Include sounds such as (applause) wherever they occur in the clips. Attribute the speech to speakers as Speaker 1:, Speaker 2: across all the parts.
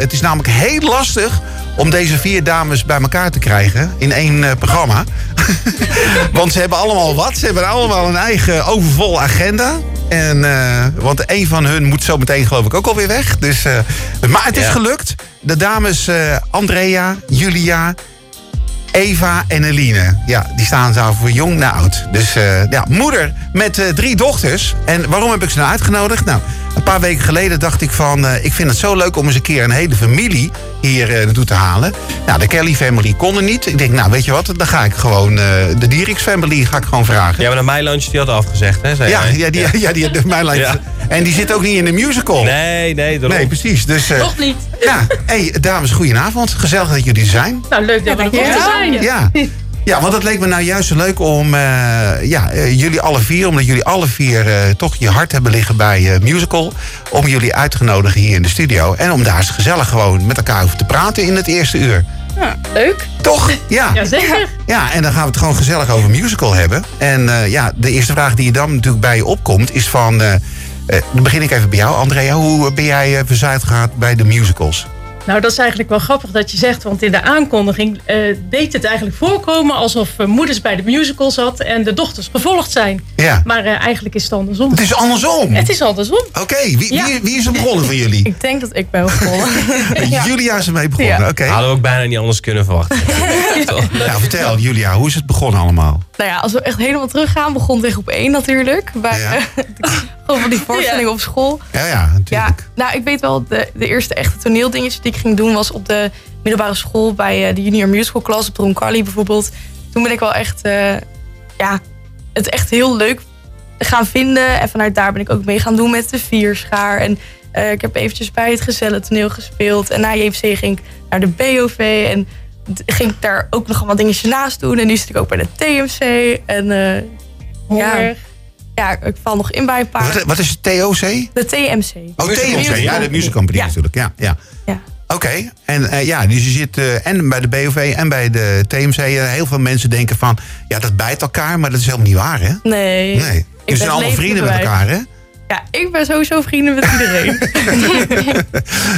Speaker 1: Het is namelijk heel lastig om deze vier dames bij elkaar te krijgen in één eh, programma. (laughs) want ze hebben allemaal wat. Ze hebben allemaal een eigen overvolle agenda. En, eh, want een van hun moet zo meteen geloof ik ook alweer weg. Dus, eh, maar het is
Speaker 2: Ja.
Speaker 1: gelukt. De dames eh, Andrea, Julia, Eva en Eline. Ja, die staan zo voor jong naar oud. Dus eh, ja, moeder met eh, drie dochters. En waarom heb ik ze nou uitgenodigd? Nou, een paar weken geleden dacht ik van... eh, ik vind het zo leuk om eens een keer een hele familie hier eh, naartoe te halen. Nou, de Kelly family kon er niet. Ik denk, nou, weet je wat? Dan ga ik gewoon eh, de Dieriks family ga ik gewoon vragen.
Speaker 2: Ja, maar de Mijlunch die had afgezegd, hè? Zei
Speaker 1: Ja,
Speaker 2: jij.
Speaker 1: ja, die, ja. die, de- mijn lijst.
Speaker 2: Ja.
Speaker 1: En die zit ook niet in de musical.
Speaker 2: Nee, nee, daarom.
Speaker 1: Nee, precies. Dus, eh,
Speaker 3: Nog niet.
Speaker 1: ja, hey, dames, goedenavond. Gezellig dat jullie er zijn.
Speaker 3: Nou, leuk dat we er
Speaker 4: dankjewel.
Speaker 3: mochten zijn.
Speaker 1: Ja. ja, want het leek me nou juist zo leuk om eh, ja, eh, jullie alle vier, omdat jullie alle vier eh, toch je hart hebben liggen bij eh, musical, om jullie uit te nodigen hier in de studio. En om daar eens gezellig gewoon met elkaar over te praten in het eerste uur.
Speaker 4: Leuk.
Speaker 1: Toch? Ja.
Speaker 3: Jazeker.
Speaker 1: ja, en dan gaan we het gewoon gezellig over musical hebben. En eh, ja, de eerste vraag die je dan natuurlijk bij je opkomt is van. eh, eh, dan begin ik even bij jou, Andrea. Hoe ben jij eh verzuid gehad bij de musicals?
Speaker 3: (laughs) Nou, dat is eigenlijk wel grappig dat je zegt, want in de aankondiging eh, deed het eigenlijk voorkomen alsof eh, moeders bij de musical zat en de dochters gevolgd zijn.
Speaker 1: Ja.
Speaker 3: Maar eh, eigenlijk is het andersom.
Speaker 1: Het is andersom. (laughs)
Speaker 3: Het is andersom.
Speaker 1: Oké, wie,
Speaker 4: Ja.
Speaker 1: wie, wie is er begonnen van jullie?
Speaker 4: Ik denk dat ik ben begonnen.
Speaker 1: Julia is ermee begonnen.
Speaker 4: Ja.
Speaker 1: Oké.
Speaker 2: Hadden we ook bijna niet anders kunnen verwachten. Toch?
Speaker 1: Nou, vertel Julia, hoe is het begonnen allemaal?
Speaker 4: nou ja, als we echt helemaal teruggaan, begon tegen op één natuurlijk. Bij,
Speaker 1: Ja.
Speaker 4: eh, gewoon van die voorstellingen op school.
Speaker 1: Ja, ja,
Speaker 4: Ja,
Speaker 1: natuurlijk.
Speaker 4: nou ik weet wel, de, de eerste echte toneeldingetje die ik ging doen was op de middelbare school bij eh, de junior musical class op de Roncalli bijvoorbeeld. Toen ben ik wel echt, eh, ja, het echt heel leuk gaan vinden. En vanuit daar ben ik ook mee gaan doen met de vierschaar. En eh, ik heb eventjes bij het gezellen toneel gespeeld. En na JFC ging ik naar de BOV en d- ging ik daar ook nog allemaal dingetjes naast doen. En nu zit ik ook bij de TMC. En eh,
Speaker 3: Honger.
Speaker 4: ja, ik val nog in bij een paar.
Speaker 1: Wat, wat is het TOC?
Speaker 4: De TMC.
Speaker 1: Oh,
Speaker 2: Musical
Speaker 1: TOC, ja, de
Speaker 4: Company.
Speaker 1: Music Company
Speaker 4: Ja.
Speaker 1: natuurlijk. Ja, ja.
Speaker 4: Ja.
Speaker 1: Oké, en eh, ja, dus je zit eh, en bij de BOV en bij de TMC. En Eh, heel veel mensen denken van, ja, dat bijt elkaar, maar dat is helemaal niet waar, hè?
Speaker 4: Nee.
Speaker 1: Nee. Jullie
Speaker 4: ben
Speaker 1: zijn allemaal
Speaker 4: levend
Speaker 1: vrienden met
Speaker 4: bewijs.
Speaker 1: elkaar, hè?
Speaker 4: Ja, ik ben sowieso vrienden met
Speaker 1: (laughs)
Speaker 4: iedereen.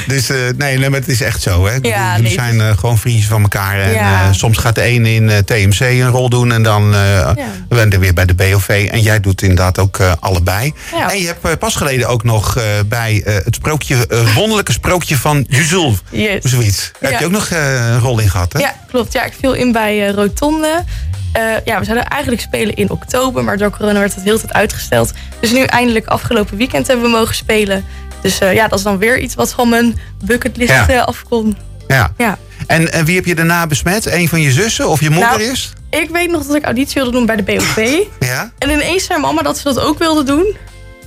Speaker 1: Dus eh, nee, nee, maar het is echt zo, hè? Ik bedoel,
Speaker 4: nee,
Speaker 1: Jullie
Speaker 4: het
Speaker 1: zijn eh, gewoon vriendjes van elkaar. En
Speaker 4: Ja.
Speaker 1: eh, soms gaat de een in eh, TMC een rol doen en dan eh ben je weer bij de BOV. En jij doet inderdaad ook eh, allebei.
Speaker 4: Ja.
Speaker 1: En je hebt eh, pas geleden ook nog eh, bij eh, het sprookje, eh, wonderlijke sprookje van Juzul.
Speaker 4: Yes.
Speaker 1: Zoiets. Daar heb je
Speaker 4: Ja.
Speaker 1: ook nog eh, een rol in gehad, hè?
Speaker 4: Ja, klopt. Ja, ik viel in bij eh, Rotonde. Eh, ja, we zouden eigenlijk spelen in oktober, maar door corona werd het heel de tijd uitgesteld. Dus nu eindelijk afgelopen weekend hebben we mogen spelen. Dus eh, ja, dat is dan weer iets wat van mijn bucketlist
Speaker 1: Ja.
Speaker 4: eh, af kon.
Speaker 1: Ja.
Speaker 4: Ja.
Speaker 1: En, en wie heb je daarna besmet? Een van je zussen of je moeder
Speaker 4: Nou.
Speaker 1: is?
Speaker 4: Ik weet nog dat ik auditie wilde doen bij de BOV.
Speaker 1: Ja.
Speaker 4: En ineens zei mama dat ze dat ook wilde doen.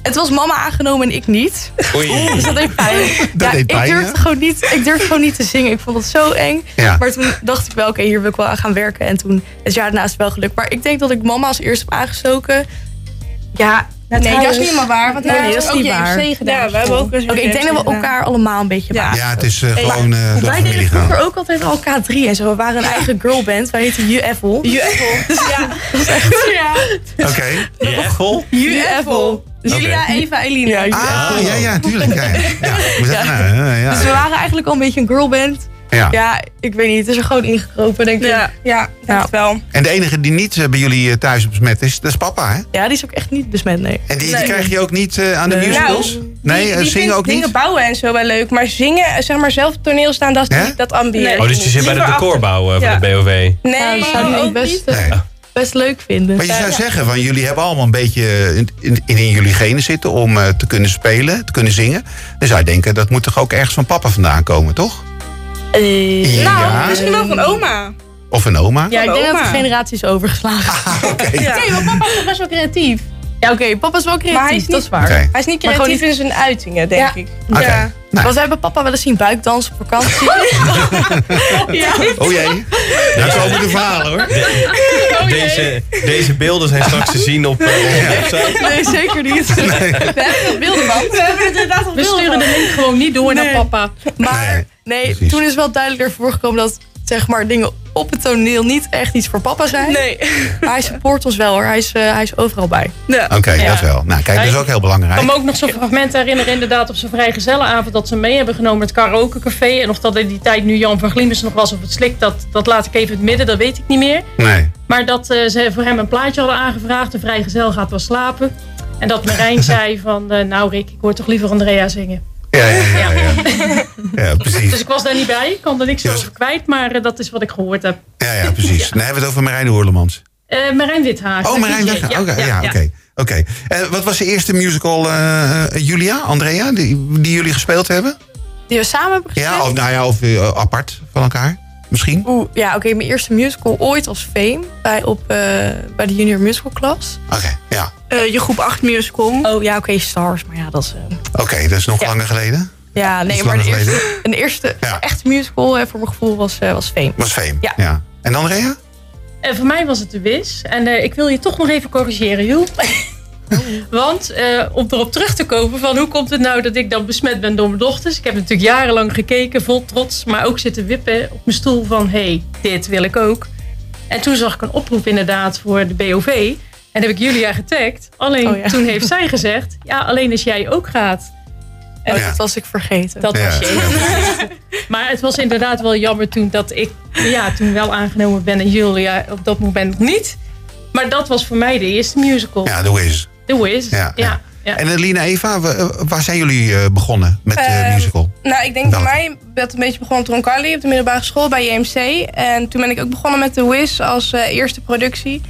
Speaker 4: Het was mama aangenomen en ik niet.
Speaker 2: Oei.
Speaker 4: Dus dat
Speaker 1: (laughs)
Speaker 4: deed pijn.
Speaker 1: deed pijn,
Speaker 4: ik,
Speaker 1: hè?
Speaker 4: durfde gewoon niet, ik durfde gewoon niet te zingen. Ik vond het zo eng.
Speaker 1: Ja.
Speaker 4: Maar toen dacht ik wel, oké, hier wil ik wel aan gaan werken. En toen het jaar daarna is het wel gelukt. Maar ik denk dat ik mama als eerste heb aangestoken. Ja,
Speaker 5: nee, dat is niet helemaal waar. Want
Speaker 4: Nee,
Speaker 5: hij heeft
Speaker 4: dat is
Speaker 5: ook
Speaker 4: niet
Speaker 5: JMC
Speaker 4: waar.
Speaker 5: gedaan. Ja, we hebben ook eens
Speaker 4: Oké, ik denk dat we elkaar allemaal een beetje
Speaker 5: Ja.
Speaker 4: ja.
Speaker 1: Ja, het is eh, gewoon eh door de
Speaker 4: Wij
Speaker 1: familie
Speaker 4: deden
Speaker 1: gaan.
Speaker 4: vroeger ook altijd wel K3 en zo. We waren een eigen girlband. Wij heten UFL. (laughs)
Speaker 5: Ja,
Speaker 1: Oké.
Speaker 2: Je Echel?
Speaker 4: UFL.
Speaker 5: Julia, Eva, Eline.
Speaker 4: Ja, UFL.
Speaker 1: Ah, ja, ja, tuurlijk. Ja, ja. Ja, we zeggen, nou, eh, ja.
Speaker 4: Dus we waren eigenlijk al een beetje een girlband.
Speaker 1: Ja.
Speaker 4: Ja, ik weet niet. Het is er gewoon ingekropen, denk ik.
Speaker 5: Ja, ja,
Speaker 4: Ja.
Speaker 5: dat wel.
Speaker 1: En de enige die niet eh, bij jullie eh, thuis besmet is, dat is papa, hè?
Speaker 4: Ja, die is ook echt niet besmet, nee.
Speaker 1: En die, die
Speaker 5: Nee.
Speaker 1: krijg je ook niet eh, aan de
Speaker 4: Nee.
Speaker 1: musicals? nee, eh,
Speaker 5: die
Speaker 1: zingen
Speaker 5: vindt
Speaker 1: ook
Speaker 5: dingen
Speaker 1: niet?
Speaker 5: bouwen en zo wel leuk. Maar zingen, zeg maar zelf op toneel
Speaker 4: Nou,
Speaker 5: staan, dat is
Speaker 1: Hè?
Speaker 5: niet dat ambiëren.
Speaker 2: Oh, dus je zit bij de decorbouw eh, van
Speaker 5: Ja.
Speaker 2: de BOV.
Speaker 4: Ja,
Speaker 5: Nee,
Speaker 4: dat zou ik
Speaker 5: ook
Speaker 4: best,
Speaker 5: niet.
Speaker 1: Nee.
Speaker 4: best leuk vinden.
Speaker 1: Maar je zou zeggen, van jullie hebben allemaal een beetje in, in, in jullie genen zitten om eh, te kunnen spelen, te kunnen zingen. Dan zou je denken, dat moet toch ook ergens van papa vandaan komen, toch?
Speaker 4: Eh,
Speaker 5: Nou, misschien wel van oma.
Speaker 1: Of een oma?
Speaker 4: ja, ik denk dat de
Speaker 5: Oma.
Speaker 4: generatie is overgeslagen.
Speaker 1: Ah, Oké.
Speaker 4: (laughs)
Speaker 5: Ja.
Speaker 3: Nee, want papa is toch best wel creatief.
Speaker 4: Ja, oké, papa is wel creatief,
Speaker 5: Maar hij is niet-
Speaker 4: dat is waar.
Speaker 5: (laughs)
Speaker 1: Oké.
Speaker 5: Hij is niet
Speaker 4: Maar gewoon
Speaker 5: creatief in zijn uitingen, denk ik.
Speaker 1: Oké.
Speaker 5: Ja.
Speaker 1: Nou,
Speaker 4: Want we hebben papa wel eens zien buikdansen op vakantie.
Speaker 1: oh jee. Daar komen de verhalen hoor.
Speaker 2: Deze, deze beelden zijn straks te zien op eh, onze website.
Speaker 4: (laughs) nee, zeker niet. (laughs)
Speaker 3: Wilde man.
Speaker 5: We hebben inderdaad al
Speaker 3: We sturen de link gewoon niet door naar papa.
Speaker 4: Maar
Speaker 1: Nee,
Speaker 4: nee,
Speaker 1: precies.
Speaker 4: toen is wel duidelijk ervoor gekomen dat zeg maar, dingen op het toneel niet echt iets voor papa zijn.
Speaker 6: Nee.
Speaker 4: Maar hij support ons wel hoor. Hij is, eh, hij is overal bij.
Speaker 6: Ja.
Speaker 1: Oké, dat wel. Nou, kijk, dat is ook heel
Speaker 3: Ik
Speaker 1: belangrijk.
Speaker 3: kan me ook nog zo'n fragment herinneren, inderdaad, op zijn vrijgezellenavond. dat ze mee hebben genomen het karaokecafé. En of dat in die tijd nu Jan van Gliemus nog was of het slik, dat, dat laat ik even in het midden, dat weet ik niet meer.
Speaker 1: Nee.
Speaker 3: Maar dat eh, ze voor hem een plaatje hadden aangevraagd. De vrijgezel gaat wel slapen. En
Speaker 1: (laughs)
Speaker 3: dat Marijn zei van, eh, nou Rick, ik hoor toch liever Andrea zingen.
Speaker 1: Ja, ja, ja. ja, ja. Ja, precies.
Speaker 3: Dus ik was daar niet bij, ik kan er niks
Speaker 1: Ja.
Speaker 3: over kwijt, maar eh, dat is wat ik gehoord heb.
Speaker 1: Ja, ja, precies. Dan hebben we het over Marijn Hoorlemans.
Speaker 3: Eh Marijn Withaar.
Speaker 1: Oh, Marijn
Speaker 3: DJ.
Speaker 1: Weg. Oké, ja, oké. Oké. Eh, wat was de eerste musical, eh, eh, Julia, Andrea, die, die jullie gespeeld hebben?
Speaker 4: Die we samen hebben gespeeld.
Speaker 1: Ja, of, nou ja, of eh, apart van elkaar, misschien?
Speaker 4: Oeh, ja, oké. mijn eerste musical ooit als Fame. Bij, op, eh, bij de junior musical klas.
Speaker 1: Oké, ja.
Speaker 6: Eh, je groep 8 musical.
Speaker 4: Oh ja, oké. Stars. Maar ja, dat is... eh,
Speaker 1: Oké, dat is nog langer geleden.
Speaker 4: ja, nee.
Speaker 1: Iets
Speaker 4: Maar de
Speaker 1: langer
Speaker 4: eerste,
Speaker 6: (laughs)
Speaker 4: een eerste
Speaker 1: Ja.
Speaker 4: echte musical eh, voor mijn gevoel was, eh, was Fame.
Speaker 1: Was fame.
Speaker 4: Ja.
Speaker 1: En Andrea?
Speaker 3: En Eh, voor mij was het de Wis. En eh, ik wil je toch nog even corrigeren, Joel. (laughs) Want eh, om erop terug te komen van hoe komt het nou dat ik dan besmet ben door mijn dochters. Ik heb natuurlijk jarenlang gekeken, vol trots. Maar ook zitten wippen op mijn stoel van hé, hey, dit wil ik ook. En toen zag ik een oproep inderdaad voor de BOV. En heb ik Julia getagd. Alleen
Speaker 4: Oh ja.
Speaker 3: toen heeft zij gezegd, ja alleen als jij ook gaat.
Speaker 4: En
Speaker 1: Oh, Ja.
Speaker 4: dat was ik vergeten.
Speaker 3: Dat was je. Maar het was inderdaad wel jammer toen dat ik ja, toen wel aangenomen ben en Julia op dat moment nog niet. Maar dat was voor mij de eerste musical.
Speaker 1: (laughs) Ja, doe eens.
Speaker 3: The Wiz.
Speaker 1: Ja,
Speaker 3: Ja,
Speaker 1: ja.
Speaker 3: ja.
Speaker 1: En eh, Lina Eva, wa- eh, waar zijn jullie eh, begonnen met de
Speaker 5: Ehm,
Speaker 1: musical?
Speaker 5: Nou, ik denk bij
Speaker 1: Welke?
Speaker 5: mij dat het een beetje begon op Ron Carly op de middelbare school bij JMC. En toen ben ik ook begonnen met The Wiz als eh, eerste productie.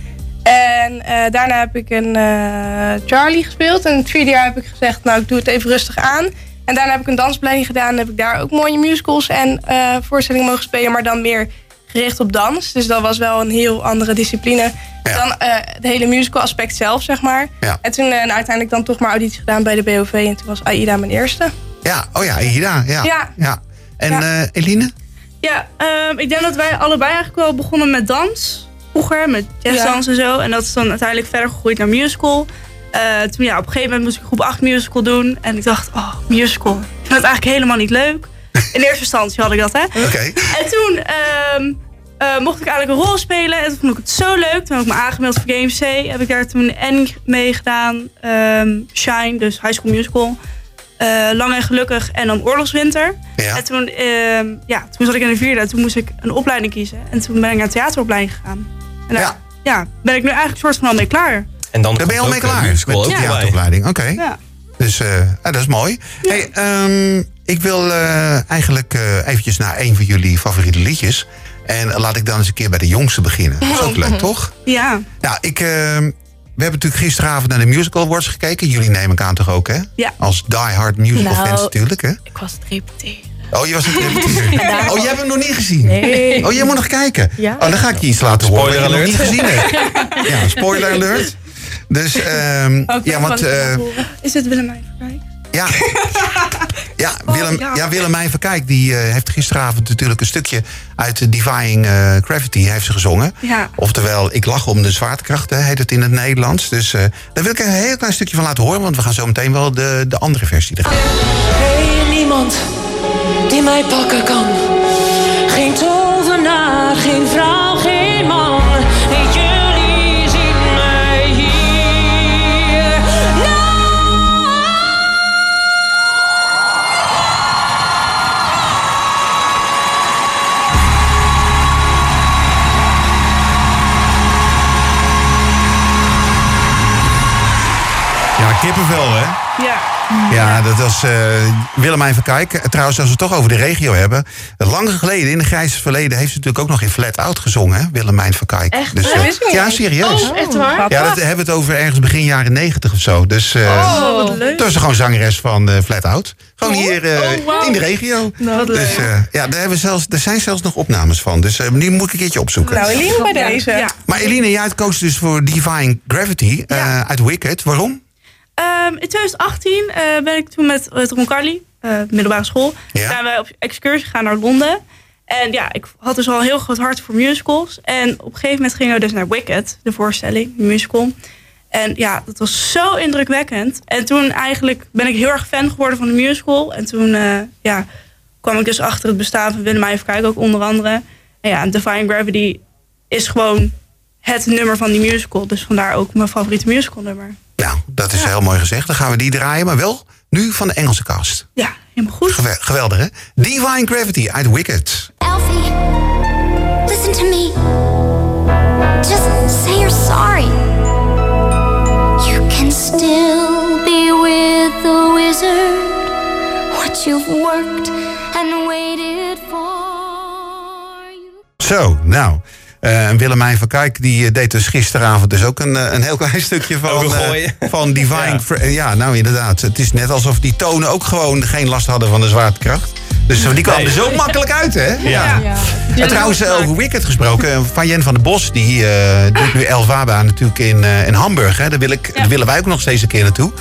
Speaker 5: En eh, daarna heb ik een eh, Charlie gespeeld. En het vierde jaar heb ik gezegd, nou ik doe het even rustig aan. En daarna heb ik een dansopleiding gedaan. En heb ik daar ook mooie musicals en eh, voorstellingen mogen spelen. Maar dan meer gericht op dans. Dus dat was wel een heel andere discipline.
Speaker 1: Ja.
Speaker 5: Dan eh, het hele musical aspect zelf, zeg maar.
Speaker 1: Ja.
Speaker 5: En toen eh, nou, uiteindelijk dan toch maar auditie gedaan bij de BOV. En toen was Aida mijn eerste.
Speaker 1: Ja, oh ja, Ida. Ja.
Speaker 5: Ja.
Speaker 1: En
Speaker 5: Ja.
Speaker 1: eh, Eline?
Speaker 6: Ja, ehm, ik denk dat wij allebei eigenlijk wel begonnen met dans. Vroeger, met jazzdans en zo. En dat is dan uiteindelijk verder gegroeid naar musical. Eh, toen ja, op een gegeven moment moest ik groep 8 musical doen. En ik dacht, oh, musical. Ik vind het eigenlijk helemaal niet leuk. In eerste instantie had ik dat, hè.
Speaker 1: Oké.
Speaker 6: En toen ehm, eh, mocht ik eigenlijk een rol spelen. En toen vond ik het zo leuk. Toen heb ik me aangemeld voor GMC. Heb ik daar toen N mee gedaan. Ehm, Shine, dus High School Musical. Eh, Lang en Gelukkig en dan Oorlogswinter.
Speaker 1: Ja.
Speaker 6: En toen, ehm, ja, toen zat ik in de vierde en toen moest ik een opleiding kiezen. En toen ben ik naar een theateropleiding gegaan. En
Speaker 4: nou,
Speaker 6: daar,
Speaker 1: Ja.
Speaker 6: ja. ben ik nu eigenlijk soort van al mee klaar.
Speaker 2: En dan
Speaker 1: Daar ben je al mee
Speaker 2: komt ook
Speaker 1: klaar.
Speaker 2: een musical
Speaker 1: met
Speaker 2: ook
Speaker 1: de
Speaker 2: erbij.
Speaker 1: theateropleiding. Oké.
Speaker 6: Ja.
Speaker 1: Dus eh, ah, dat is mooi. Hey, ehm, ik wil eh, eigenlijk eh, eventjes naar een van jullie favoriete liedjes. En laat ik dan eens een keer bij de jongste beginnen. Dat is ook leuk, toch?
Speaker 6: Ja,
Speaker 1: Nou, ik, eh, we hebben natuurlijk gisteravond naar de Musical Awards gekeken. Jullie nemen ik aan toch ook, hè?
Speaker 6: Ja.
Speaker 1: Als diehard musical
Speaker 4: Nou.
Speaker 1: fans natuurlijk, hè?
Speaker 4: Ik was het repeteren.
Speaker 1: Oh, je was een repetitie. Oh, jij hebt hem nog niet gezien?
Speaker 4: Nee.
Speaker 1: Oh, jij moet nog kijken.
Speaker 4: Ja.
Speaker 1: Oh, dan ga ik je iets laten horen.
Speaker 2: Spoiler
Speaker 1: wat je nog niet gezien hebt. Ja, spoiler alert. Dus, ehm, ja, want... eh,
Speaker 6: Is het Willemijn Verkijk?
Speaker 1: ja. Ja, Willem,
Speaker 6: ja.
Speaker 1: ja, Willemijn Verkijk die eh, heeft gisteravond natuurlijk een stukje uit de Defying eh, Gravity heeft ze gezongen.
Speaker 6: Ja.
Speaker 1: Oftewel, ik lach om de zwaartekrachten, heet het in het Nederlands. Dus eh, daar wil ik een heel klein stukje van laten horen, want we gaan zo meteen wel de, de andere versie draaien.
Speaker 7: Hey, niemand die mij pakken kan. Geen tovenaar, geen vrouw, geen man. Nee, jullie zien mij hier. Nou,
Speaker 1: Ja, kippenvel hè?
Speaker 6: Ja.
Speaker 1: Ja, dat was eh Willemijn van Kijk. Eh, Trouwens, als we het toch over de regio hebben. Lang geleden, in de grijze verleden, heeft ze natuurlijk ook nog in Flat Out gezongen. Hè? Willemijn van Kijk.
Speaker 3: Echt?
Speaker 1: Dus,
Speaker 3: Dat
Speaker 1: eh,
Speaker 3: wist
Speaker 5: ik niet.
Speaker 1: ja, serieus.
Speaker 3: Oh, echt waar?
Speaker 1: Ja, dat hebben we het over ergens begin jaren negentig of zo. Dus eh
Speaker 3: Oh,
Speaker 6: wat leuk.
Speaker 1: toen was ze gewoon zangeres van eh, Flat Out. Gewoon hier eh,
Speaker 3: Oh, wauw.
Speaker 1: in de regio.
Speaker 4: Nou,
Speaker 6: Wat leuk.
Speaker 1: Dus eh, ja, daar, hebben we zelfs, daar zijn zelfs nog opnames van. Dus eh, die moet ik een keertje opzoeken.
Speaker 5: Nou, Eline bij deze.
Speaker 6: ja.
Speaker 1: Maar Eline, jij koos dus voor Divine Gravity eh,
Speaker 6: Ja.
Speaker 1: uit Wicked. Waarom?
Speaker 6: Ehm, in 2018 eh, ben ik toen met eh, Ron Carly, eh, middelbare school,
Speaker 1: Ja.
Speaker 6: zijn wij op excursie gegaan naar Londen. En ja, ik had dus al een heel groot hart voor musicals. En op een gegeven moment gingen we dus naar Wicked, de voorstelling, de musical. En ja, dat was zo indrukwekkend. En toen eigenlijk ben ik heel erg fan geworden van de musical. En toen eh, ja, kwam ik dus achter het bestaan van Willemijn Verkuik ook onder andere. Nou ja, Defying Gravity is gewoon het nummer van die musical. Dus vandaar ook mijn favoriete musical nummer.
Speaker 1: Nou, dat is heel mooi gezegd. Dan gaan we die draaien, maar wel nu van de Engelse cast.
Speaker 6: Ja, helemaal goed.
Speaker 1: Gewe- Geweldig, hè? Divine Gravity uit Wicked.
Speaker 8: Alfie, listen to me. Just say you're sorry. You can still be with the wizard. What you've worked and waited for. You
Speaker 1: Zo, nou. eh, Willemijn van Kijk die eh, deed dus gisteravond dus ook een, eh, een heel klein (laughs) stukje
Speaker 2: Ook
Speaker 1: van,
Speaker 2: een
Speaker 1: eh,
Speaker 2: gooi.
Speaker 1: (laughs) van Divine. Ja. ja, nou inderdaad. Het is net alsof die tonen ook gewoon geen last hadden van de zwaartekracht. Dus eh, die kwamen
Speaker 2: Nee.
Speaker 1: er zo makkelijk uit, hè?
Speaker 2: Ja.
Speaker 3: Ja.
Speaker 1: En trouwens, eh, over Wicked gesproken. eh, Van Jen van der Bos, die eh, doet nu Elvaba natuurlijk in, eh, in Hamburg. Hè. Daar, wil ik, daar willen wij ook nog steeds een keer naartoe.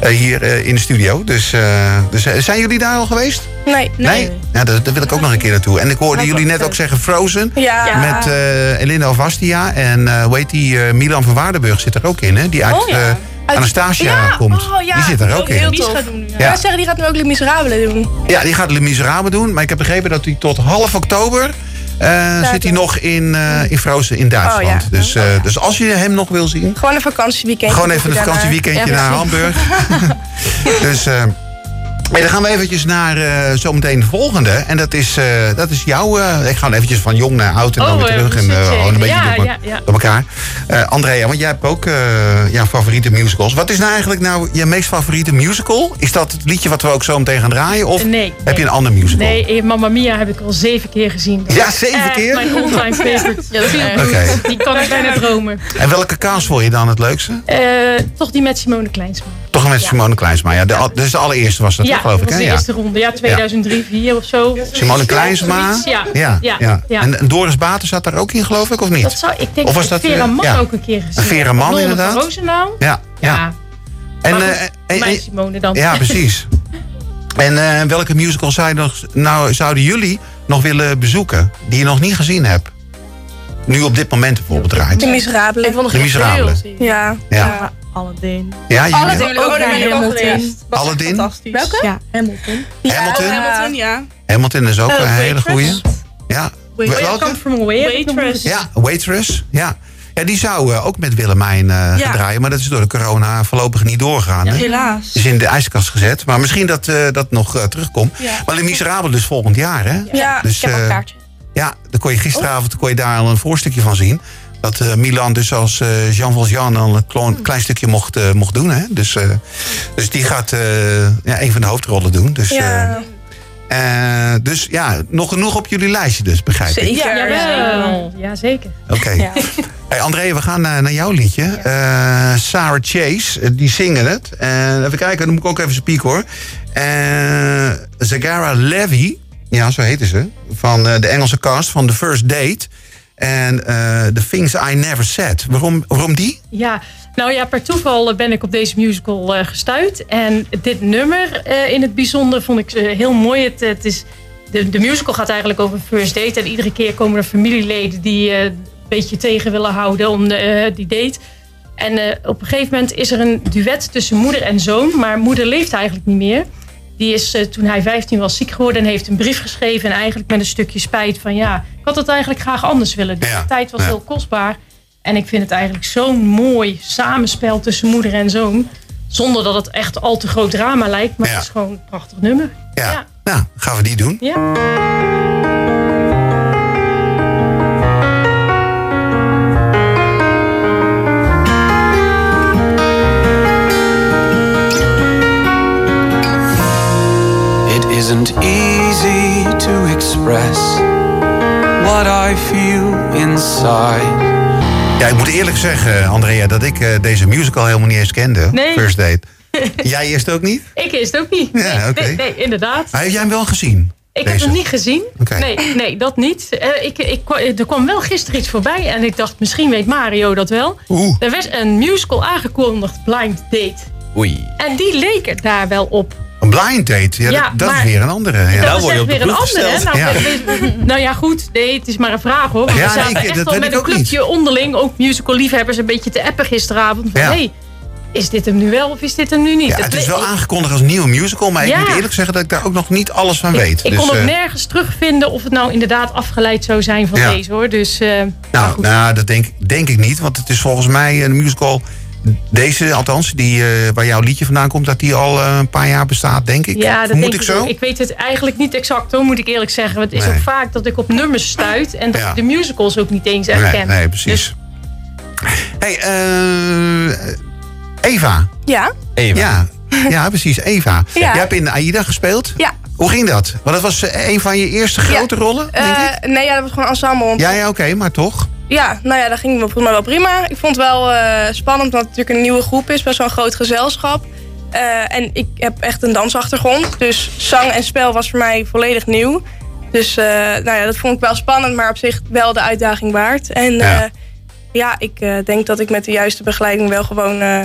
Speaker 1: Eh, hier eh, in de studio. Dus, eh, dus eh, zijn jullie daar al geweest?
Speaker 5: Nee.
Speaker 1: Nee? Ja, daar, daar wil ik ook nog een keer naartoe. En ik hoorde jullie net ook zeggen Frozen.
Speaker 5: Ja.
Speaker 1: Met eh Elinda Alvastia en eh, hoe heet die, eh, Milan van Waardenburg zit er ook in, hè? Die uit
Speaker 3: Oh, ja.
Speaker 1: eh, Anastasia
Speaker 5: Ja,
Speaker 1: komt.
Speaker 5: oh, ja.
Speaker 1: Die zit er ook in.
Speaker 5: Heel tof.
Speaker 1: Ja.
Speaker 5: Ja. zeggen, die gaat nu ook Les Miserabelen doen.
Speaker 1: Ja, die gaat Le Miserable doen. Maar ik heb begrepen dat hij tot half oktober eh, zit hij nog in, eh in Frozen in Duitsland.
Speaker 5: Oh, ja.
Speaker 1: dus, eh, dus als je hem nog wil zien,
Speaker 5: Gewoon een vakantieweekend.
Speaker 1: gewoon even een
Speaker 5: Daarna.
Speaker 1: vakantieweekendje
Speaker 4: Ja,
Speaker 1: naar
Speaker 4: precies.
Speaker 1: Hamburg. (laughs) dus eh, hey, dan gaan we eventjes naar eh, zometeen de volgende. En dat is, eh, dat is jouw... eh, ik ga eventjes van jong naar oud en dan
Speaker 3: Oh,
Speaker 1: weer
Speaker 3: eh,
Speaker 1: terug. En
Speaker 3: precies,
Speaker 1: eh,
Speaker 3: zeker.
Speaker 1: gewoon een beetje
Speaker 3: Ja,
Speaker 1: door,
Speaker 3: ja, ja.
Speaker 1: door elkaar. Eh Andrea, want jij hebt ook eh, jouw favoriete musicals. Wat is nou eigenlijk nou je meest favoriete musical? Is dat het liedje wat we ook zometeen gaan draaien? Of
Speaker 3: Eh, Nee, nee.
Speaker 1: heb je een ander musical?
Speaker 3: Nee, eh, Mamma Mia heb ik al zeven keer gezien. Dat
Speaker 1: Ja,
Speaker 3: is
Speaker 1: zeven
Speaker 3: echt
Speaker 1: keer?
Speaker 3: Mijn
Speaker 1: (laughs)
Speaker 3: all-time favorite. Eh,
Speaker 4: Ja, dat is erg.
Speaker 1: Oké.
Speaker 3: Die kan ik bijna dromen.
Speaker 1: En welke kaas vond je dan het leukste?
Speaker 3: Eh, toch die met Simone Kleinsma.
Speaker 1: Toch met Simone Kleinsma. Ja, de, al- dus de allereerste was dat,
Speaker 3: ja,
Speaker 1: toch, geloof ik.
Speaker 3: dat was
Speaker 1: Hè?
Speaker 3: de
Speaker 1: Ja.
Speaker 3: eerste ronde. Ja, 2003, 4 of zo.
Speaker 1: Simone Kleinsma.
Speaker 3: Zoiets, Ja,
Speaker 1: Ja, ja,
Speaker 3: ja.
Speaker 1: En, en Doris Baten zat daar ook in, geloof ik, of niet?
Speaker 3: Dat zou, ik denk
Speaker 1: Of was
Speaker 3: dat
Speaker 1: dat,
Speaker 3: ik Vera
Speaker 1: eh,
Speaker 3: Man
Speaker 1: ja.
Speaker 3: ook een keer gezien.
Speaker 1: Vera
Speaker 3: heb.
Speaker 1: Mann,
Speaker 3: Nolde van
Speaker 1: inderdaad.
Speaker 3: Roosendaal.
Speaker 1: Ja, ja.
Speaker 3: Ja,
Speaker 1: En,
Speaker 3: maar goed,
Speaker 1: eh, en-
Speaker 3: mijn
Speaker 1: en-
Speaker 3: Simone dan.
Speaker 1: ja, precies. En eh, welke musical zou je nog, nou, zouden jullie nog willen bezoeken die je nog niet gezien hebt? Nu op dit moment bijvoorbeeld draait.
Speaker 5: De Miserabelen.
Speaker 4: Ik vond nog
Speaker 1: De
Speaker 4: echt
Speaker 1: Miserabelen.
Speaker 4: veel zien.
Speaker 5: Ja.
Speaker 1: Ja,
Speaker 4: Aladdin.
Speaker 1: ja
Speaker 5: Alle
Speaker 1: jullie-
Speaker 5: dingen willen we
Speaker 4: naar
Speaker 5: ook naar
Speaker 4: Hamilton.
Speaker 5: Hamilton.
Speaker 6: Was echt
Speaker 1: Aladdin?
Speaker 6: Fantastisch.
Speaker 5: Welke?
Speaker 4: Ja, Hamilton.
Speaker 1: Hamilton.
Speaker 6: Hamilton, ja.
Speaker 1: Hamilton is ook
Speaker 6: Eh,
Speaker 1: een hele
Speaker 6: Waitress.
Speaker 1: goeie. Ja.
Speaker 3: Where you
Speaker 1: Welke?
Speaker 3: Come From Away. heb ik nog
Speaker 6: Waitress.
Speaker 3: nooit
Speaker 1: Ja, Waitress. Ja. ja die zou eh, ook met Willemijn eh, gaan draaien. Maar dat is door de corona voorlopig niet doorgaan. hè?
Speaker 6: Helaas.
Speaker 1: Is in de ijskast gezet. Maar misschien dat eh, dat nog eh, terugkomt.
Speaker 6: Ja.
Speaker 1: Maar Le Miserable dus volgend jaar, hè?
Speaker 5: Ja.
Speaker 1: Dus,
Speaker 4: Ik heb
Speaker 1: eh,
Speaker 4: een kaartje.
Speaker 1: ja, dan kon je gisteravond kon je daar al een voorstukje van zien. Dat eh, Milan dus als eh, Jean Valjean al een klein, klein stukje mocht, eh, mocht doen. Hè? Dus, eh, dus die gaat eh, ja, een van de hoofdrollen doen. Dus,
Speaker 5: Ja.
Speaker 1: eh, eh, dus ja, nog genoeg op jullie lijstje dus, begrijp ik.
Speaker 5: Zeker.
Speaker 3: gezien. Jawel. Ja, zeker.
Speaker 1: Oké. (laughs) Hey, André, we gaan eh, naar jouw liedje. Eh, Sarah Chase, eh, die zingen het. En even kijken, dan moet ik ook even spieken hoor. Eh Zagara Levy, ja, zo heette ze. Van eh, de Engelse cast van The First Date. En eh, The Things I Never Said. Waarom, waarom die?
Speaker 3: Ja, nou ja, per toeval eh, ben ik op deze musical eh, gestuit. En dit nummer eh, in het bijzonder vond ik eh, heel mooi. Het, het is, de, de musical gaat eigenlijk over een first date. En iedere keer komen er familieleden die eh, een beetje tegen willen houden om de, eh, die date. En eh, op een gegeven moment is er een duet tussen moeder en zoon. Maar moeder leeft eigenlijk niet meer. Die is eh, toen hij 15 was ziek geworden en heeft een brief geschreven. En eigenlijk met een stukje spijt van ja, ik had het eigenlijk graag anders willen. Dus
Speaker 1: Ja,
Speaker 3: de tijd was
Speaker 1: ja.
Speaker 3: heel kostbaar. En ik vind het eigenlijk zo'n mooi samenspel tussen moeder en zoon. Zonder dat het echt al te groot drama lijkt. Maar
Speaker 1: Ja.
Speaker 3: het is gewoon een prachtig nummer.
Speaker 1: Ja.
Speaker 3: Ja.
Speaker 1: Nou, gaan we die doen.
Speaker 3: Ja.
Speaker 9: It isn't easy to express what I feel inside.
Speaker 1: Ja, ik moet eerlijk zeggen, Andrea, dat ik eh, deze musical helemaal niet eens kende.
Speaker 3: Nee.
Speaker 1: First
Speaker 3: (laughs)
Speaker 1: Date. Jij eerst ook niet?
Speaker 3: Ik is het ook niet.
Speaker 1: Ja,
Speaker 3: nee,
Speaker 1: oké.
Speaker 3: nee, nee, inderdaad.
Speaker 1: Maar heb jij hem wel gezien?
Speaker 3: Ik heb
Speaker 1: Deze?
Speaker 3: hem niet gezien.
Speaker 1: Oké.
Speaker 3: Nee, nee, dat niet. Eh, ik, ik, kwa- er kwam wel gisteren iets voorbij. En ik dacht, misschien weet Mario dat wel.
Speaker 1: Oeh.
Speaker 3: Er werd een musical aangekondigd, Blind Date.
Speaker 2: Oei.
Speaker 3: En die leek er daar wel op.
Speaker 1: Een blind date, ja,
Speaker 3: Ja,
Speaker 1: dat, dat is
Speaker 3: maar-
Speaker 1: weer een andere. Ja.
Speaker 2: Nou
Speaker 3: dat
Speaker 2: word
Speaker 3: is
Speaker 2: je
Speaker 3: echt
Speaker 2: op de
Speaker 3: weer een
Speaker 2: proef
Speaker 3: andere. hè?
Speaker 2: gesteld.
Speaker 3: Nou,
Speaker 1: Ja.
Speaker 3: we- we- nou ja, goed. Nee, het is maar een vraag hoor. Want
Speaker 1: Ja,
Speaker 3: we zaten
Speaker 1: nee, ik-
Speaker 3: echt
Speaker 1: dat
Speaker 3: al
Speaker 1: weet
Speaker 3: met
Speaker 1: ik
Speaker 3: een
Speaker 1: ook niet.
Speaker 3: clubje onderling. Ook musical liefhebbers een beetje te appen gisteravond. Van,
Speaker 1: Ja.
Speaker 3: hey, is dit hem nu wel of is dit hem nu niet?
Speaker 1: Ja, het is
Speaker 3: le-
Speaker 1: wel aangekondigd als nieuwe musical, maar
Speaker 3: Ja.
Speaker 1: ik moet eerlijk zeggen dat ik daar ook nog niet alles van weet.
Speaker 3: Ik
Speaker 1: Dus,
Speaker 3: kon ook
Speaker 1: eh,
Speaker 3: nergens terugvinden of het nou inderdaad afgeleid zou zijn van
Speaker 1: Ja.
Speaker 3: deze hoor. Dus eh, maar
Speaker 1: Nou,
Speaker 3: goed.
Speaker 1: nou dat denk, denk ik niet. Want het is volgens mij een musical. Deze, althans, die, eh, waar jouw liedje vandaan komt, dat die al eh, een paar jaar bestaat, denk ik.
Speaker 3: ja, dat
Speaker 1: Vermoed
Speaker 3: denk
Speaker 1: ik zo?
Speaker 3: ook. Ik weet het eigenlijk niet exact hoor, moet ik eerlijk zeggen. Want het is
Speaker 1: Nee.
Speaker 3: ook vaak dat ik op nummers stuit en dat
Speaker 1: Ja.
Speaker 3: ik de musicals ook niet eens echt
Speaker 1: nee,
Speaker 3: ken.
Speaker 1: nee,
Speaker 3: Dus-
Speaker 1: precies. hey, eh, Eva.
Speaker 5: Ja,
Speaker 2: Eva.
Speaker 1: Ja. ja, precies, Eva.
Speaker 5: Ja.
Speaker 1: Jij hebt in Aida gespeeld.
Speaker 5: Ja.
Speaker 1: Hoe ging dat? Want dat was eh, een van je eerste grote rollen, denk
Speaker 5: Eh,
Speaker 1: ik.
Speaker 5: nee, ja, dat was gewoon ensemble. want-
Speaker 1: Ja, ja oké, maar toch.
Speaker 5: Ja, nou ja, dat ging volgens mij wel prima. Ik vond het wel eh, spannend, omdat het natuurlijk een nieuwe groep is, best wel een groot gezelschap. Eh, en ik heb echt een dansachtergrond, dus zang en spel was voor mij volledig nieuw. Dus eh, nou ja, dat vond ik wel spannend, maar op zich wel de uitdaging waard. En
Speaker 1: Ja.
Speaker 5: ja, ja ik eh, denk dat ik met de juiste begeleiding wel gewoon eh,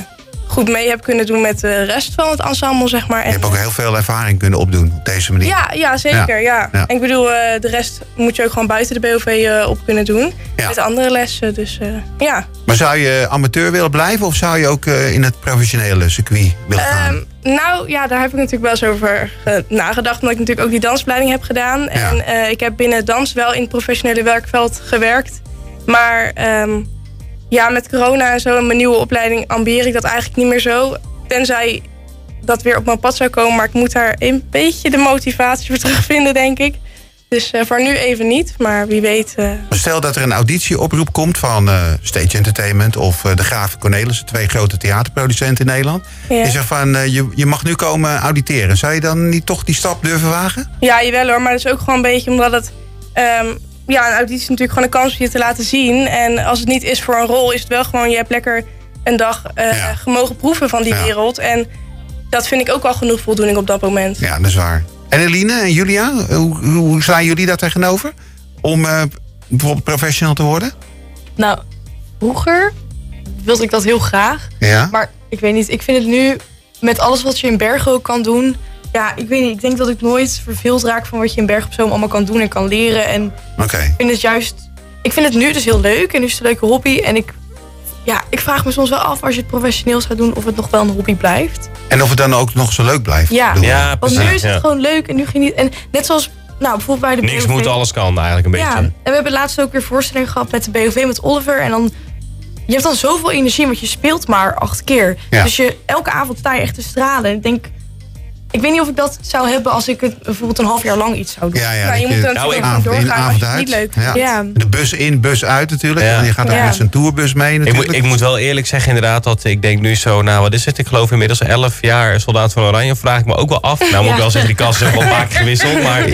Speaker 5: goed mee heb kunnen doen met de rest van het ensemble, zeg maar.
Speaker 1: Je hebt ook heel veel ervaring kunnen opdoen op deze manier.
Speaker 5: Ja, ja zeker. Ja.
Speaker 1: ja.
Speaker 5: En ik bedoel, eh, de rest moet je ook gewoon buiten de BOV eh, op kunnen doen.
Speaker 1: Ja.
Speaker 5: Met andere lessen. Dus eh, ja.
Speaker 1: Maar zou je amateur willen blijven of zou je ook eh, in het professionele circuit willen gaan?
Speaker 5: Ehm, nou ja, daar heb ik natuurlijk wel eens over eh, nagedacht. Omdat ik natuurlijk ook die dansopleiding heb gedaan. En eh, ik heb binnen dans wel in het professionele werkveld gewerkt. Maar ehm, ja, met corona en zo en mijn nieuwe opleiding ambieer ik dat eigenlijk niet meer zo. Tenzij dat weer op mijn pad zou komen. Maar ik moet daar een beetje de motivatie voor terugvinden, denk ik. Dus eh, voor nu even niet. Maar wie weet... eh,
Speaker 1: Maar Stel dat er een auditieoproep komt van eh, Stage Entertainment of eh, de Graaf Cornelissen, twee grote theaterproducenten in Nederland.
Speaker 5: ja.
Speaker 1: Die zeggen van eh, je, je mag nu komen auditeren. Zou je dan niet toch die stap durven wagen?
Speaker 5: Ja, jawel hoor. Maar dat is ook gewoon een beetje omdat het... ehm, ja, een auditie is natuurlijk gewoon een kans om je te laten zien. En als het niet is voor een rol, is het wel gewoon... Je hebt lekker een dag eh,
Speaker 1: Ja.
Speaker 5: gemogen proeven van die
Speaker 1: Ja.
Speaker 5: wereld. En dat vind ik ook wel genoeg voldoening op dat moment.
Speaker 1: Ja, dat is waar. En Eline en Julia, eh, hoe, hoe- hoe staan jullie daar tegenover? Om eh, bijvoorbeeld professional te worden?
Speaker 4: Nou, vroeger wilde ik dat heel graag.
Speaker 1: Ja.
Speaker 4: Maar ik weet niet, ik vind het nu met alles wat je in Bergen ook kan doen. Ja, ik weet niet, ik denk dat ik nooit verveeld raak van wat je in Bergen op Zoom allemaal kan doen en kan leren. En
Speaker 1: Oké.
Speaker 4: ik vind het juist, ik vind het nu dus heel leuk en nu is het een leuke hobby. En ik, ja, ik vraag me soms wel af als je het professioneel zou doen of het nog wel een hobby blijft.
Speaker 1: En of het dan ook nog zo leuk blijft?
Speaker 4: Ja.
Speaker 1: bedoel eh, ik.
Speaker 2: Ja,
Speaker 4: Want
Speaker 2: precies.
Speaker 4: nu is het
Speaker 2: ja.
Speaker 4: gewoon leuk en nu ging niet. En net zoals, nou bijvoorbeeld bij de
Speaker 2: Niks
Speaker 4: BOV.
Speaker 2: moet, alles kan eigenlijk een
Speaker 4: Ja,
Speaker 2: beetje.
Speaker 4: en we hebben laatst ook weer voorstelling gehad met de BOV, met Oliver. En dan, je hebt dan zoveel energie, want je speelt maar acht keer.
Speaker 1: Ja.
Speaker 4: Dus je, elke avond sta je echt te stralen. En ik denk, ik weet niet of ik dat zou hebben als ik het bijvoorbeeld een half jaar lang iets zou doen.
Speaker 1: Ja, ja,
Speaker 5: Nou, je
Speaker 1: dat
Speaker 5: moet dan
Speaker 2: Nou,
Speaker 5: natuurlijk
Speaker 2: ik-
Speaker 5: gewoon
Speaker 1: avond in,
Speaker 5: doorgaan als
Speaker 1: avond
Speaker 5: je het
Speaker 1: uit.
Speaker 5: niet leuk vindt.
Speaker 1: Ja.
Speaker 4: Ja.
Speaker 1: De bus in, bus uit natuurlijk.
Speaker 2: Ja.
Speaker 1: En je gaat ook
Speaker 4: Ja.
Speaker 1: met zo'n tourbus mee
Speaker 2: Ik
Speaker 1: natuurlijk.
Speaker 2: moet, ik moet wel eerlijk zeggen inderdaad dat ik denk nu zo, nou wat is het? Ik geloof inmiddels 11 jaar soldaat van Oranje vraag ik me ook wel af. Nou moet ik wel zeggen, die kast is ook wel vaak gewisseld, maar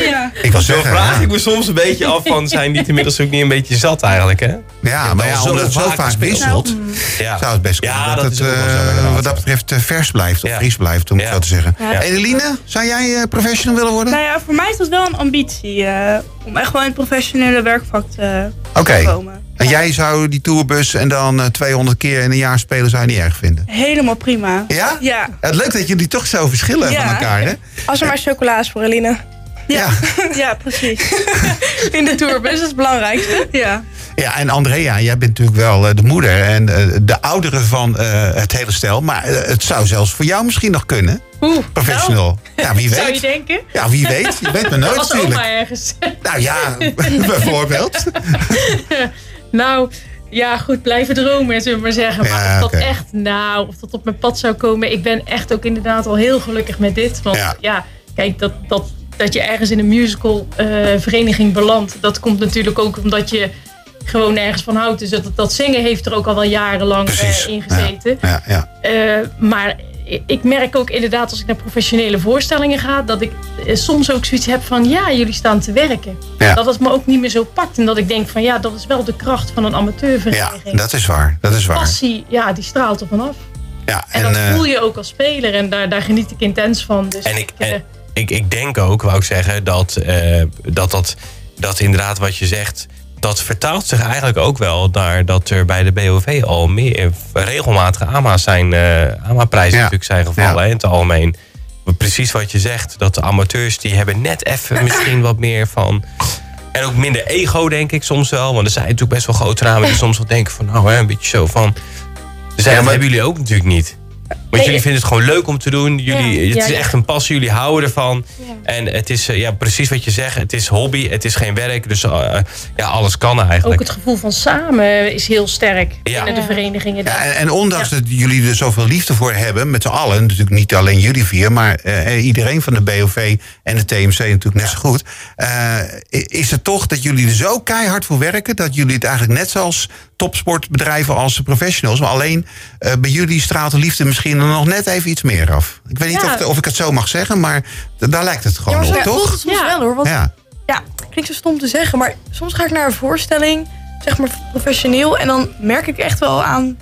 Speaker 1: Ik was
Speaker 2: zo
Speaker 1: zeggen,
Speaker 2: vraag
Speaker 1: ja.
Speaker 2: ik me soms een beetje af van zijn die het inmiddels ook niet een beetje zat eigenlijk hè?
Speaker 1: Ja, maar
Speaker 2: al
Speaker 1: ja,
Speaker 2: zo
Speaker 1: omdat het zo
Speaker 2: vaak
Speaker 1: vaak
Speaker 2: gespeeld.
Speaker 1: wisselt,
Speaker 2: Ja.
Speaker 1: zou het best kunnen.
Speaker 2: Ja, dat,
Speaker 1: dat,
Speaker 2: is
Speaker 1: het
Speaker 2: ook wel zo
Speaker 1: eh,
Speaker 2: inderdaad.
Speaker 1: wat dat betreft eh, vers blijft of
Speaker 2: Ja.
Speaker 1: vries blijft, om het
Speaker 2: Ja.
Speaker 1: zo te zeggen.
Speaker 2: Ja.
Speaker 1: Eline, zou jij eh, professional willen worden?
Speaker 6: Nou ja, voor mij is dat wel een ambitie eh, om echt wel in het professionele werkvak te
Speaker 1: Oké.
Speaker 6: komen.
Speaker 1: En jij zou die tourbus en dan eh, 200 keer in een jaar spelen, zou je niet erg vinden?
Speaker 6: Helemaal prima.
Speaker 1: Ja?
Speaker 6: Ja.
Speaker 1: Het leuk dat jullie toch zo verschillen
Speaker 6: Ja.
Speaker 1: van elkaar, hè?
Speaker 5: Als er maar chocola is voor Eline.
Speaker 1: Ja.
Speaker 6: Ja, precies.
Speaker 5: (laughs) In de tourbus, dat is het belangrijkste.
Speaker 6: Ja.
Speaker 1: Ja, en Andrea, jij bent natuurlijk wel eh, de moeder en eh, de oudere van eh, het hele stel. Maar eh, het zou zelfs voor jou misschien nog kunnen,
Speaker 3: Oeh, nou.
Speaker 1: professional. Ja, wie
Speaker 3: (laughs) zou je
Speaker 1: weet.
Speaker 3: denken?
Speaker 1: Ja, wie weet. Je weet maar nooit
Speaker 3: Als oma
Speaker 1: natuurlijk.
Speaker 3: ergens.
Speaker 1: Nou ja, (laughs) bijvoorbeeld.
Speaker 3: Nou, ja, goed, blijven dromen, zullen we maar zeggen. Maar
Speaker 1: Ja,
Speaker 3: of dat
Speaker 1: oké.
Speaker 3: echt, nou, of dat op mijn pad zou komen. Ik ben echt ook inderdaad al heel gelukkig met dit. Want
Speaker 1: Ja.
Speaker 3: ja, kijk, dat, dat, dat je ergens in een musical eh, vereniging belandt, dat komt natuurlijk ook omdat je gewoon ergens van houdt. Dus dat, dat zingen heeft er ook al wel jarenlang
Speaker 1: Precies.
Speaker 3: eh in gezeten.
Speaker 1: Ja, ja.
Speaker 3: Eh, maar i- ik merk ook inderdaad als ik naar professionele voorstellingen ga, dat ik eh, soms ook zoiets heb van ja, jullie staan te werken.
Speaker 1: Ja.
Speaker 3: Dat het me ook niet meer zo pakt. En dat ik denk van ja, dat is wel de kracht van een
Speaker 1: ja,
Speaker 3: amateurvereniging.
Speaker 1: dat is waar. Dat is waar.
Speaker 3: Passie, ja, die straalt er vanaf.
Speaker 1: Ja,
Speaker 3: En,
Speaker 1: en,
Speaker 3: dat
Speaker 1: eh,
Speaker 3: voel je ook als speler en daar, daar geniet ik intens van. Dus
Speaker 2: En ik,
Speaker 3: eh, (laughs)
Speaker 2: en ik, ik denk ook, wou ik zeggen, dat, eh, dat, dat, dat inderdaad wat je zegt... dat vertaalt zich eigenlijk ook wel naar dat er bij de BOV al meer regelmatige AMA's zijn... eh AMA-prijzen
Speaker 1: Ja.
Speaker 2: natuurlijk zijn gevallen
Speaker 1: Ja.
Speaker 2: hè, in het algemeen. Maar Precies wat je zegt, dat de amateurs die hebben net
Speaker 3: (laughs)
Speaker 2: even misschien wat meer van... En ook minder ego, denk ik soms wel. Want er zijn natuurlijk best wel grote namen die soms wel denken van... nou, hè, een beetje zo van... Dus
Speaker 1: Ja,
Speaker 2: dat
Speaker 1: maar-
Speaker 2: hebben jullie ook natuurlijk niet. Want jullie vinden het gewoon leuk om te doen. Jullie, het
Speaker 3: ja,
Speaker 2: is
Speaker 3: ja.
Speaker 2: echt een passie, jullie houden ervan. En het is eh, ja, precies wat je zegt. Het is hobby, het is geen werk. Dus eh, ja, alles kan
Speaker 3: Ook
Speaker 2: eigenlijk.
Speaker 3: het gevoel van samen is heel sterk
Speaker 2: Ja.
Speaker 3: binnen de verenigingen.
Speaker 1: Ja, en, en ondanks dat jullie er zoveel liefde voor hebben, met z'n allen, natuurlijk niet alleen jullie vier, maar eh, iedereen van de BOV en de TMC natuurlijk net zo goed, eh, i- is het toch dat jullie er zo keihard voor werken dat jullie het eigenlijk net zoals topsportbedrijven als professionals, maar alleen eh, bij jullie straalt de liefde misschien nog net even iets meer af. Ik weet niet
Speaker 3: Ja.
Speaker 1: of, of ik het zo mag zeggen, maar d- daar lijkt het gewoon
Speaker 4: maar
Speaker 1: op,
Speaker 4: zo voelt
Speaker 1: toch?
Speaker 4: het soms
Speaker 3: Ja.
Speaker 4: wel hoor. Want
Speaker 1: Ja.
Speaker 4: ja, klinkt zo stom te zeggen, maar soms ga ik naar een voorstelling, zeg maar professioneel, en dan merk ik echt wel aan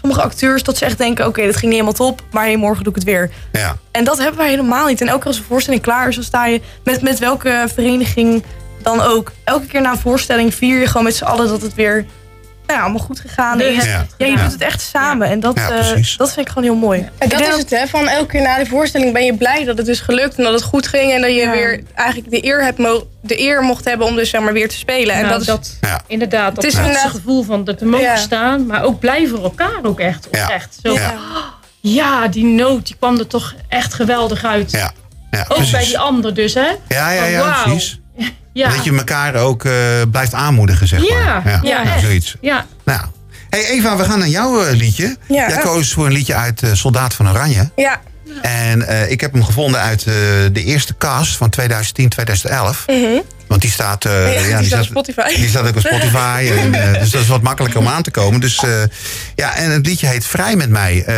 Speaker 4: sommige acteurs dat ze echt denken: oké, dat ging niet helemaal top, maar hey, morgen doe ik het weer.
Speaker 1: ja.
Speaker 4: En dat hebben wij helemaal niet. En elke keer als een voorstelling klaar is, dan sta je met, met welke vereniging dan ook. Elke keer na een voorstelling vier je gewoon met z'n allen dat het weer nou ja, allemaal goed gegaan
Speaker 3: De
Speaker 4: is.
Speaker 3: rest-
Speaker 1: Ja.
Speaker 4: Ja, je doet het echt samen. En dat,
Speaker 1: Ja,
Speaker 4: eh,
Speaker 1: precies.
Speaker 4: dat vind ik gewoon heel mooi.
Speaker 5: En dat
Speaker 4: Ik
Speaker 5: is
Speaker 4: denk
Speaker 5: het, hè? Van elke keer na de voorstelling ben je blij dat het is gelukt en dat het goed ging. En dat je
Speaker 4: Ja.
Speaker 5: weer eigenlijk de eer, hebt mo- de eer mocht hebben om dus zeg maar weer te spelen. En
Speaker 3: Nou,
Speaker 5: dat is,
Speaker 1: Ja.
Speaker 3: Inderdaad, dat
Speaker 5: Het
Speaker 3: het
Speaker 5: is inderdaad-
Speaker 3: gevoel van dat te mogen
Speaker 5: Ja.
Speaker 3: staan. Maar ook blij voor elkaar ook echt.
Speaker 1: Ja.
Speaker 3: Oprecht. Zo,
Speaker 1: Ja.
Speaker 3: ja. die nood die kwam er toch echt geweldig uit.
Speaker 1: Ja. Ja,
Speaker 3: Ook bij
Speaker 1: precies.
Speaker 3: die ander dus, hè?
Speaker 1: ja, ja, ja,
Speaker 3: van, wauw.
Speaker 1: precies.
Speaker 3: Ja,
Speaker 1: Dat je elkaar ook eh, blijft aanmoedigen, zeg
Speaker 3: Ja,
Speaker 1: maar.
Speaker 3: ja,
Speaker 1: nou,
Speaker 3: echt.
Speaker 1: zoiets.
Speaker 3: ja.
Speaker 1: Nou, hey Eva, we gaan naar jouw eh, liedje.
Speaker 5: Ja.
Speaker 1: Jij koos voor een liedje uit eh, Soldaat van Oranje.
Speaker 5: ja.
Speaker 1: En eh, ik heb hem gevonden uit eh, de eerste cast van 2010, 2011. Want die staat... eh,
Speaker 5: Mhm. Ja, die staat op Spotify.
Speaker 1: Die staat ook op
Speaker 5: (laughs)
Speaker 1: Spotify. en, eh, dus dat is wat makkelijker om aan te komen. Dus eh, ja, en het liedje heet Vrij met mij. Eh,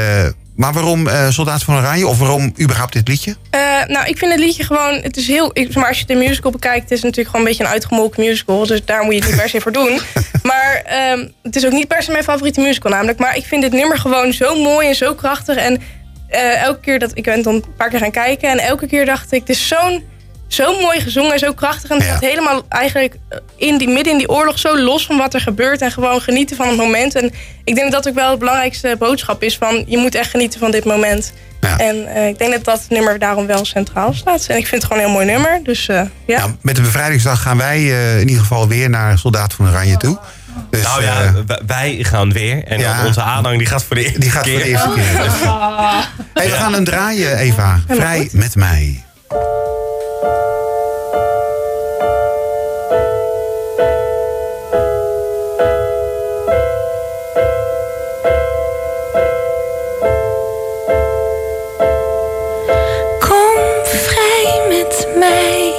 Speaker 1: maar waarom eh, Soldaat van Oranje? Of waarom überhaupt dit liedje?
Speaker 5: Eh, nou, ik vind het liedje gewoon. Het is heel. Ik, maar als je de musical bekijkt, het is natuurlijk gewoon een beetje een uitgemolken musical. Dus daar moet je het niet per se voor doen. Maar ehm, het is ook niet per se mijn favoriete musical, namelijk. Maar ik vind dit nummer gewoon zo mooi en zo krachtig. En eh, elke keer dat ik ben dan een paar keer gaan kijken. En elke keer dacht ik, het is zo'n. Zo mooi gezongen en zo krachtig. En het
Speaker 1: Ja.
Speaker 5: gaat helemaal eigenlijk in die, midden in die oorlog zo los van wat er gebeurt. En gewoon genieten van het moment. En ik denk dat dat ook wel de belangrijkste boodschap is. Van je moet echt genieten van dit moment.
Speaker 1: Nou Ja.
Speaker 5: En eh, ik denk dat dat nummer daarom wel centraal staat. En ik vind het gewoon een heel mooi nummer. Dus eh, ja.
Speaker 1: Nou, met de bevrijdingsdag gaan wij eh, in ieder geval weer naar Soldaat van Oranje toe. Dus,
Speaker 2: Nou
Speaker 1: eh,
Speaker 2: ja, w- wij gaan weer. En
Speaker 1: Ja.
Speaker 2: dan onze aanhang die gaat voor de eerste
Speaker 1: die gaat
Speaker 2: keer.
Speaker 1: voor de eerste keer.
Speaker 2: (laughs)
Speaker 1: Hey, we gaan hem draaien, Eva. Vrij met mij.
Speaker 8: Kom vrij met mij.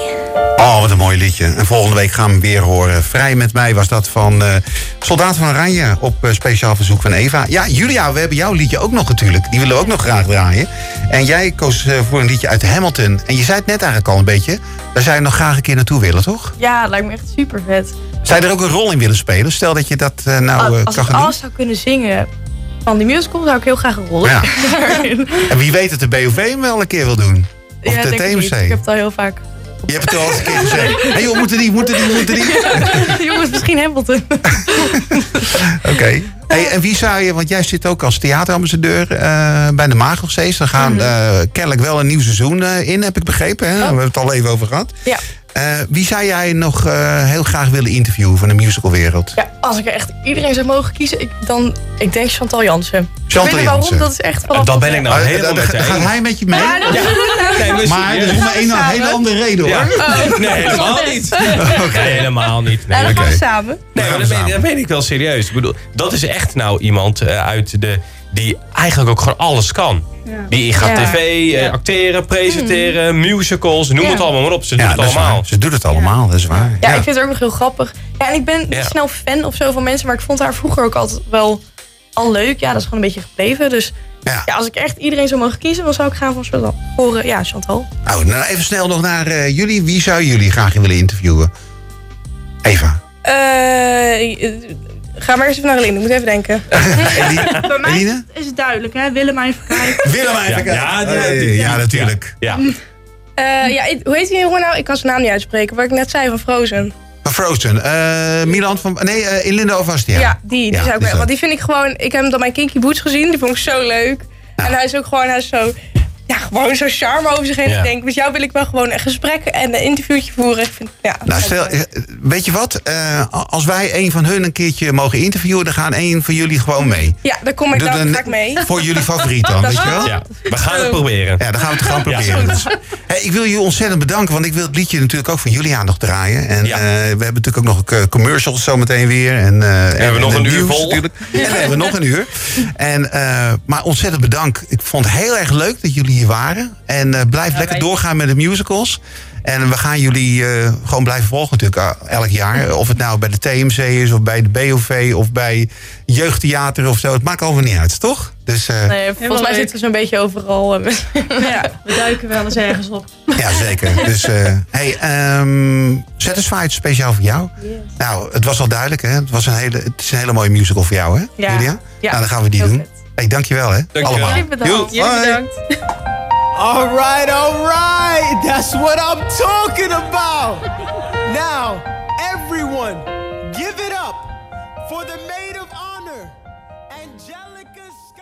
Speaker 1: Oh, wat een mooi liedje. En volgende week gaan we hem weer horen. Vrij met mij was dat van eh, Soldaat van Oranje op eh, speciaal verzoek van Eva. Ja, Julia, we hebben jouw liedje ook nog natuurlijk. Die willen we ook nog graag draaien. En jij koos eh, voor een liedje uit Hamilton. En je zei het net eigenlijk al een beetje. Daar zou je nog graag een keer naartoe willen, toch?
Speaker 4: dat- ja, lijkt me echt super vet.
Speaker 1: Zou je er ook een rol in willen spelen? Stel dat je dat eh, nou eh,
Speaker 4: als
Speaker 1: kan
Speaker 4: ik
Speaker 1: gaan doen.
Speaker 4: alles zou kunnen zingen van die musical, zou ik heel graag een rol (laughs)
Speaker 1: Ja.
Speaker 4: daarin.
Speaker 1: En wie weet dat de BOV hem wel een keer wil doen. Of
Speaker 4: Ja,
Speaker 1: de
Speaker 4: denk ik, niet.
Speaker 1: TMC.
Speaker 4: ik heb het al heel vaak. (laughs)
Speaker 1: Je hebt het al eens een keer gezegd. Hé joh, moeten die, moeten die, moeten die.
Speaker 4: Jongens, misschien Hamilton.
Speaker 1: Oké. Hey, en wie zou je, want jij zit ook als theaterambassadeur eh, bij de Magel steeds. Er
Speaker 4: Mhm.
Speaker 1: gaan eh, kennelijk wel een nieuw seizoen eh, in, heb ik begrepen. Hè? We hebben het al even over gehad.
Speaker 4: Oh. Ja.
Speaker 1: Eh, wie zou jij nog eh, heel graag willen interviewen van de musicalwereld?
Speaker 4: Ja, als ik er echt iedereen zou mogen kiezen, ik, dan ik denk Chantal Jansen.
Speaker 1: Chantal
Speaker 4: ik weet niet waarom,
Speaker 1: Jansen.
Speaker 4: dat is echt
Speaker 2: Eh,
Speaker 4: vanaf...
Speaker 2: Dan ben ik nou
Speaker 1: Ah,
Speaker 2: helemaal
Speaker 1: dan-
Speaker 2: met
Speaker 1: dan
Speaker 2: je
Speaker 1: gaat
Speaker 2: eens.
Speaker 1: hij met je mee.
Speaker 2: Nee, maar
Speaker 1: Maar dat
Speaker 2: serieus.
Speaker 1: is om een hele andere reden hoor.
Speaker 2: Ja.
Speaker 4: Oh.
Speaker 2: Nee, helemaal
Speaker 4: (laughs)
Speaker 2: niet. Nee, helemaal niet. Nee,
Speaker 4: Ja, dan gaan we
Speaker 1: Oké.
Speaker 4: samen.
Speaker 2: Nee, maar dat meen, dat meen ik wel serieus. Ik bedoel, dat is echt nou iemand eh, uit de... die eigenlijk ook gewoon alles kan. Die gaat
Speaker 4: Ja. Mm.
Speaker 2: tv, eh, acteren, presenteren, musicals, noem
Speaker 4: Ja.
Speaker 2: het allemaal maar op. Ze doen
Speaker 1: Ja,
Speaker 2: het
Speaker 1: dat is
Speaker 2: allemaal.
Speaker 1: waar. Ze doet het allemaal, dat is waar.
Speaker 4: Ja, ik vind het ook nog heel grappig. Ja, en ik ben niet
Speaker 2: Ja.
Speaker 4: snel fan of zo van mensen, maar ik vond haar vroeger ook altijd wel al leuk. Ja, dat is gewoon een beetje gebleven. Dus
Speaker 1: Ja.
Speaker 4: ja, als ik echt iedereen zou mogen kiezen, dan zou ik gaan voor Chantal. Voor, eh, ja, Chantal.
Speaker 1: Nou, nou, even snel nog naar eh, jullie. Wie zou jullie graag willen interviewen? Eva.
Speaker 5: Eh, ga maar eens even naar Eline. Ik moet even denken.
Speaker 2: (laughs)
Speaker 6: Bij mij
Speaker 1: Eline?
Speaker 6: is het duidelijk, hè? Willemijn Verkijk.
Speaker 1: Willem eigenlijk.
Speaker 2: Ja, ja,
Speaker 1: Eh,
Speaker 2: die-
Speaker 1: ja, natuurlijk.
Speaker 2: Ja.
Speaker 5: Eh, ja, ik- hoe heet die jongen nou? Ik kan zijn naam niet uitspreken. Wat ik net zei van Frozen.
Speaker 1: Van Frozen. Eh, Milan van... Nee, eh, Elinda Ovastia.
Speaker 5: Ja, die. die
Speaker 1: Ja,
Speaker 5: zou ik
Speaker 1: die
Speaker 5: wel-
Speaker 1: is
Speaker 5: want die vind ik gewoon... Ik heb hem dan mijn Kinky Boots gezien. Die vond ik zo leuk. En hij is ook gewoon... Hij is zo... ja, gewoon zo'n charme over zich heen.
Speaker 2: Ja.
Speaker 5: Ik denk, met jou wil ik wel gewoon een gesprek en een interviewtje voeren. Ik vind, ja,
Speaker 1: Nou, stel, eh, weet je wat? Eh, als wij een van hun een keertje mogen interviewen, dan gaan een van jullie gewoon mee.
Speaker 5: ja, daar kom ik
Speaker 1: Doe
Speaker 5: dan
Speaker 1: dan-
Speaker 5: vaak mee.
Speaker 1: Voor jullie favoriet dan, weet je wel?
Speaker 2: Ja, we gaan het proberen.
Speaker 1: Ja, dan gaan we het gaan proberen.
Speaker 2: Ja.
Speaker 1: Dus, hé, ik wil jullie ontzettend bedanken, want ik wil het liedje natuurlijk ook van jullie aan nog draaien. En
Speaker 2: Ja.
Speaker 1: eh, we hebben natuurlijk ook nog eh, commercials zometeen weer. En, eh, en-
Speaker 2: hebben we nog
Speaker 1: en
Speaker 2: een uur
Speaker 1: nieuws
Speaker 2: vol.
Speaker 1: natuurlijk.
Speaker 2: (laughs)
Speaker 1: En we hebben nog een uur. En, eh, maar ontzettend bedankt. Ik vond het heel erg leuk dat jullie hier waren. En eh, blijf lekker
Speaker 3: wij-
Speaker 1: doorgaan met de musicals. En we gaan jullie eh, gewoon blijven volgen natuurlijk eh, elk jaar. Of het nou bij de TMC is, of bij de BOV, of bij jeugdtheater of zo. Het maakt allemaal niet uit, toch? Dus eh,
Speaker 4: Nee, volgens mij
Speaker 3: leuk.
Speaker 4: zitten we zo'n beetje overal. eh,
Speaker 3: We duiken wel eens ergens op.
Speaker 1: Ja, zeker. Dus, eh, hey, ehm Satisfied speciaal voor jou. Nou, het was al duidelijk, hè? Het, was een hele, het is een hele mooie musical voor jou, hè,
Speaker 4: Ja.
Speaker 1: Julia? Nou, dan gaan we die
Speaker 4: heel
Speaker 1: doen.
Speaker 4: vet.
Speaker 1: Hey, dankjewel, hè?
Speaker 2: Dankjewel.
Speaker 1: Allemaal.
Speaker 4: Jullie bedankt.
Speaker 1: Joe, hoi.
Speaker 3: Jullie bedankt.
Speaker 10: All right, all right. That's what I'm talking about. Now, everyone, give it up for the maid of honor, Angelica. St-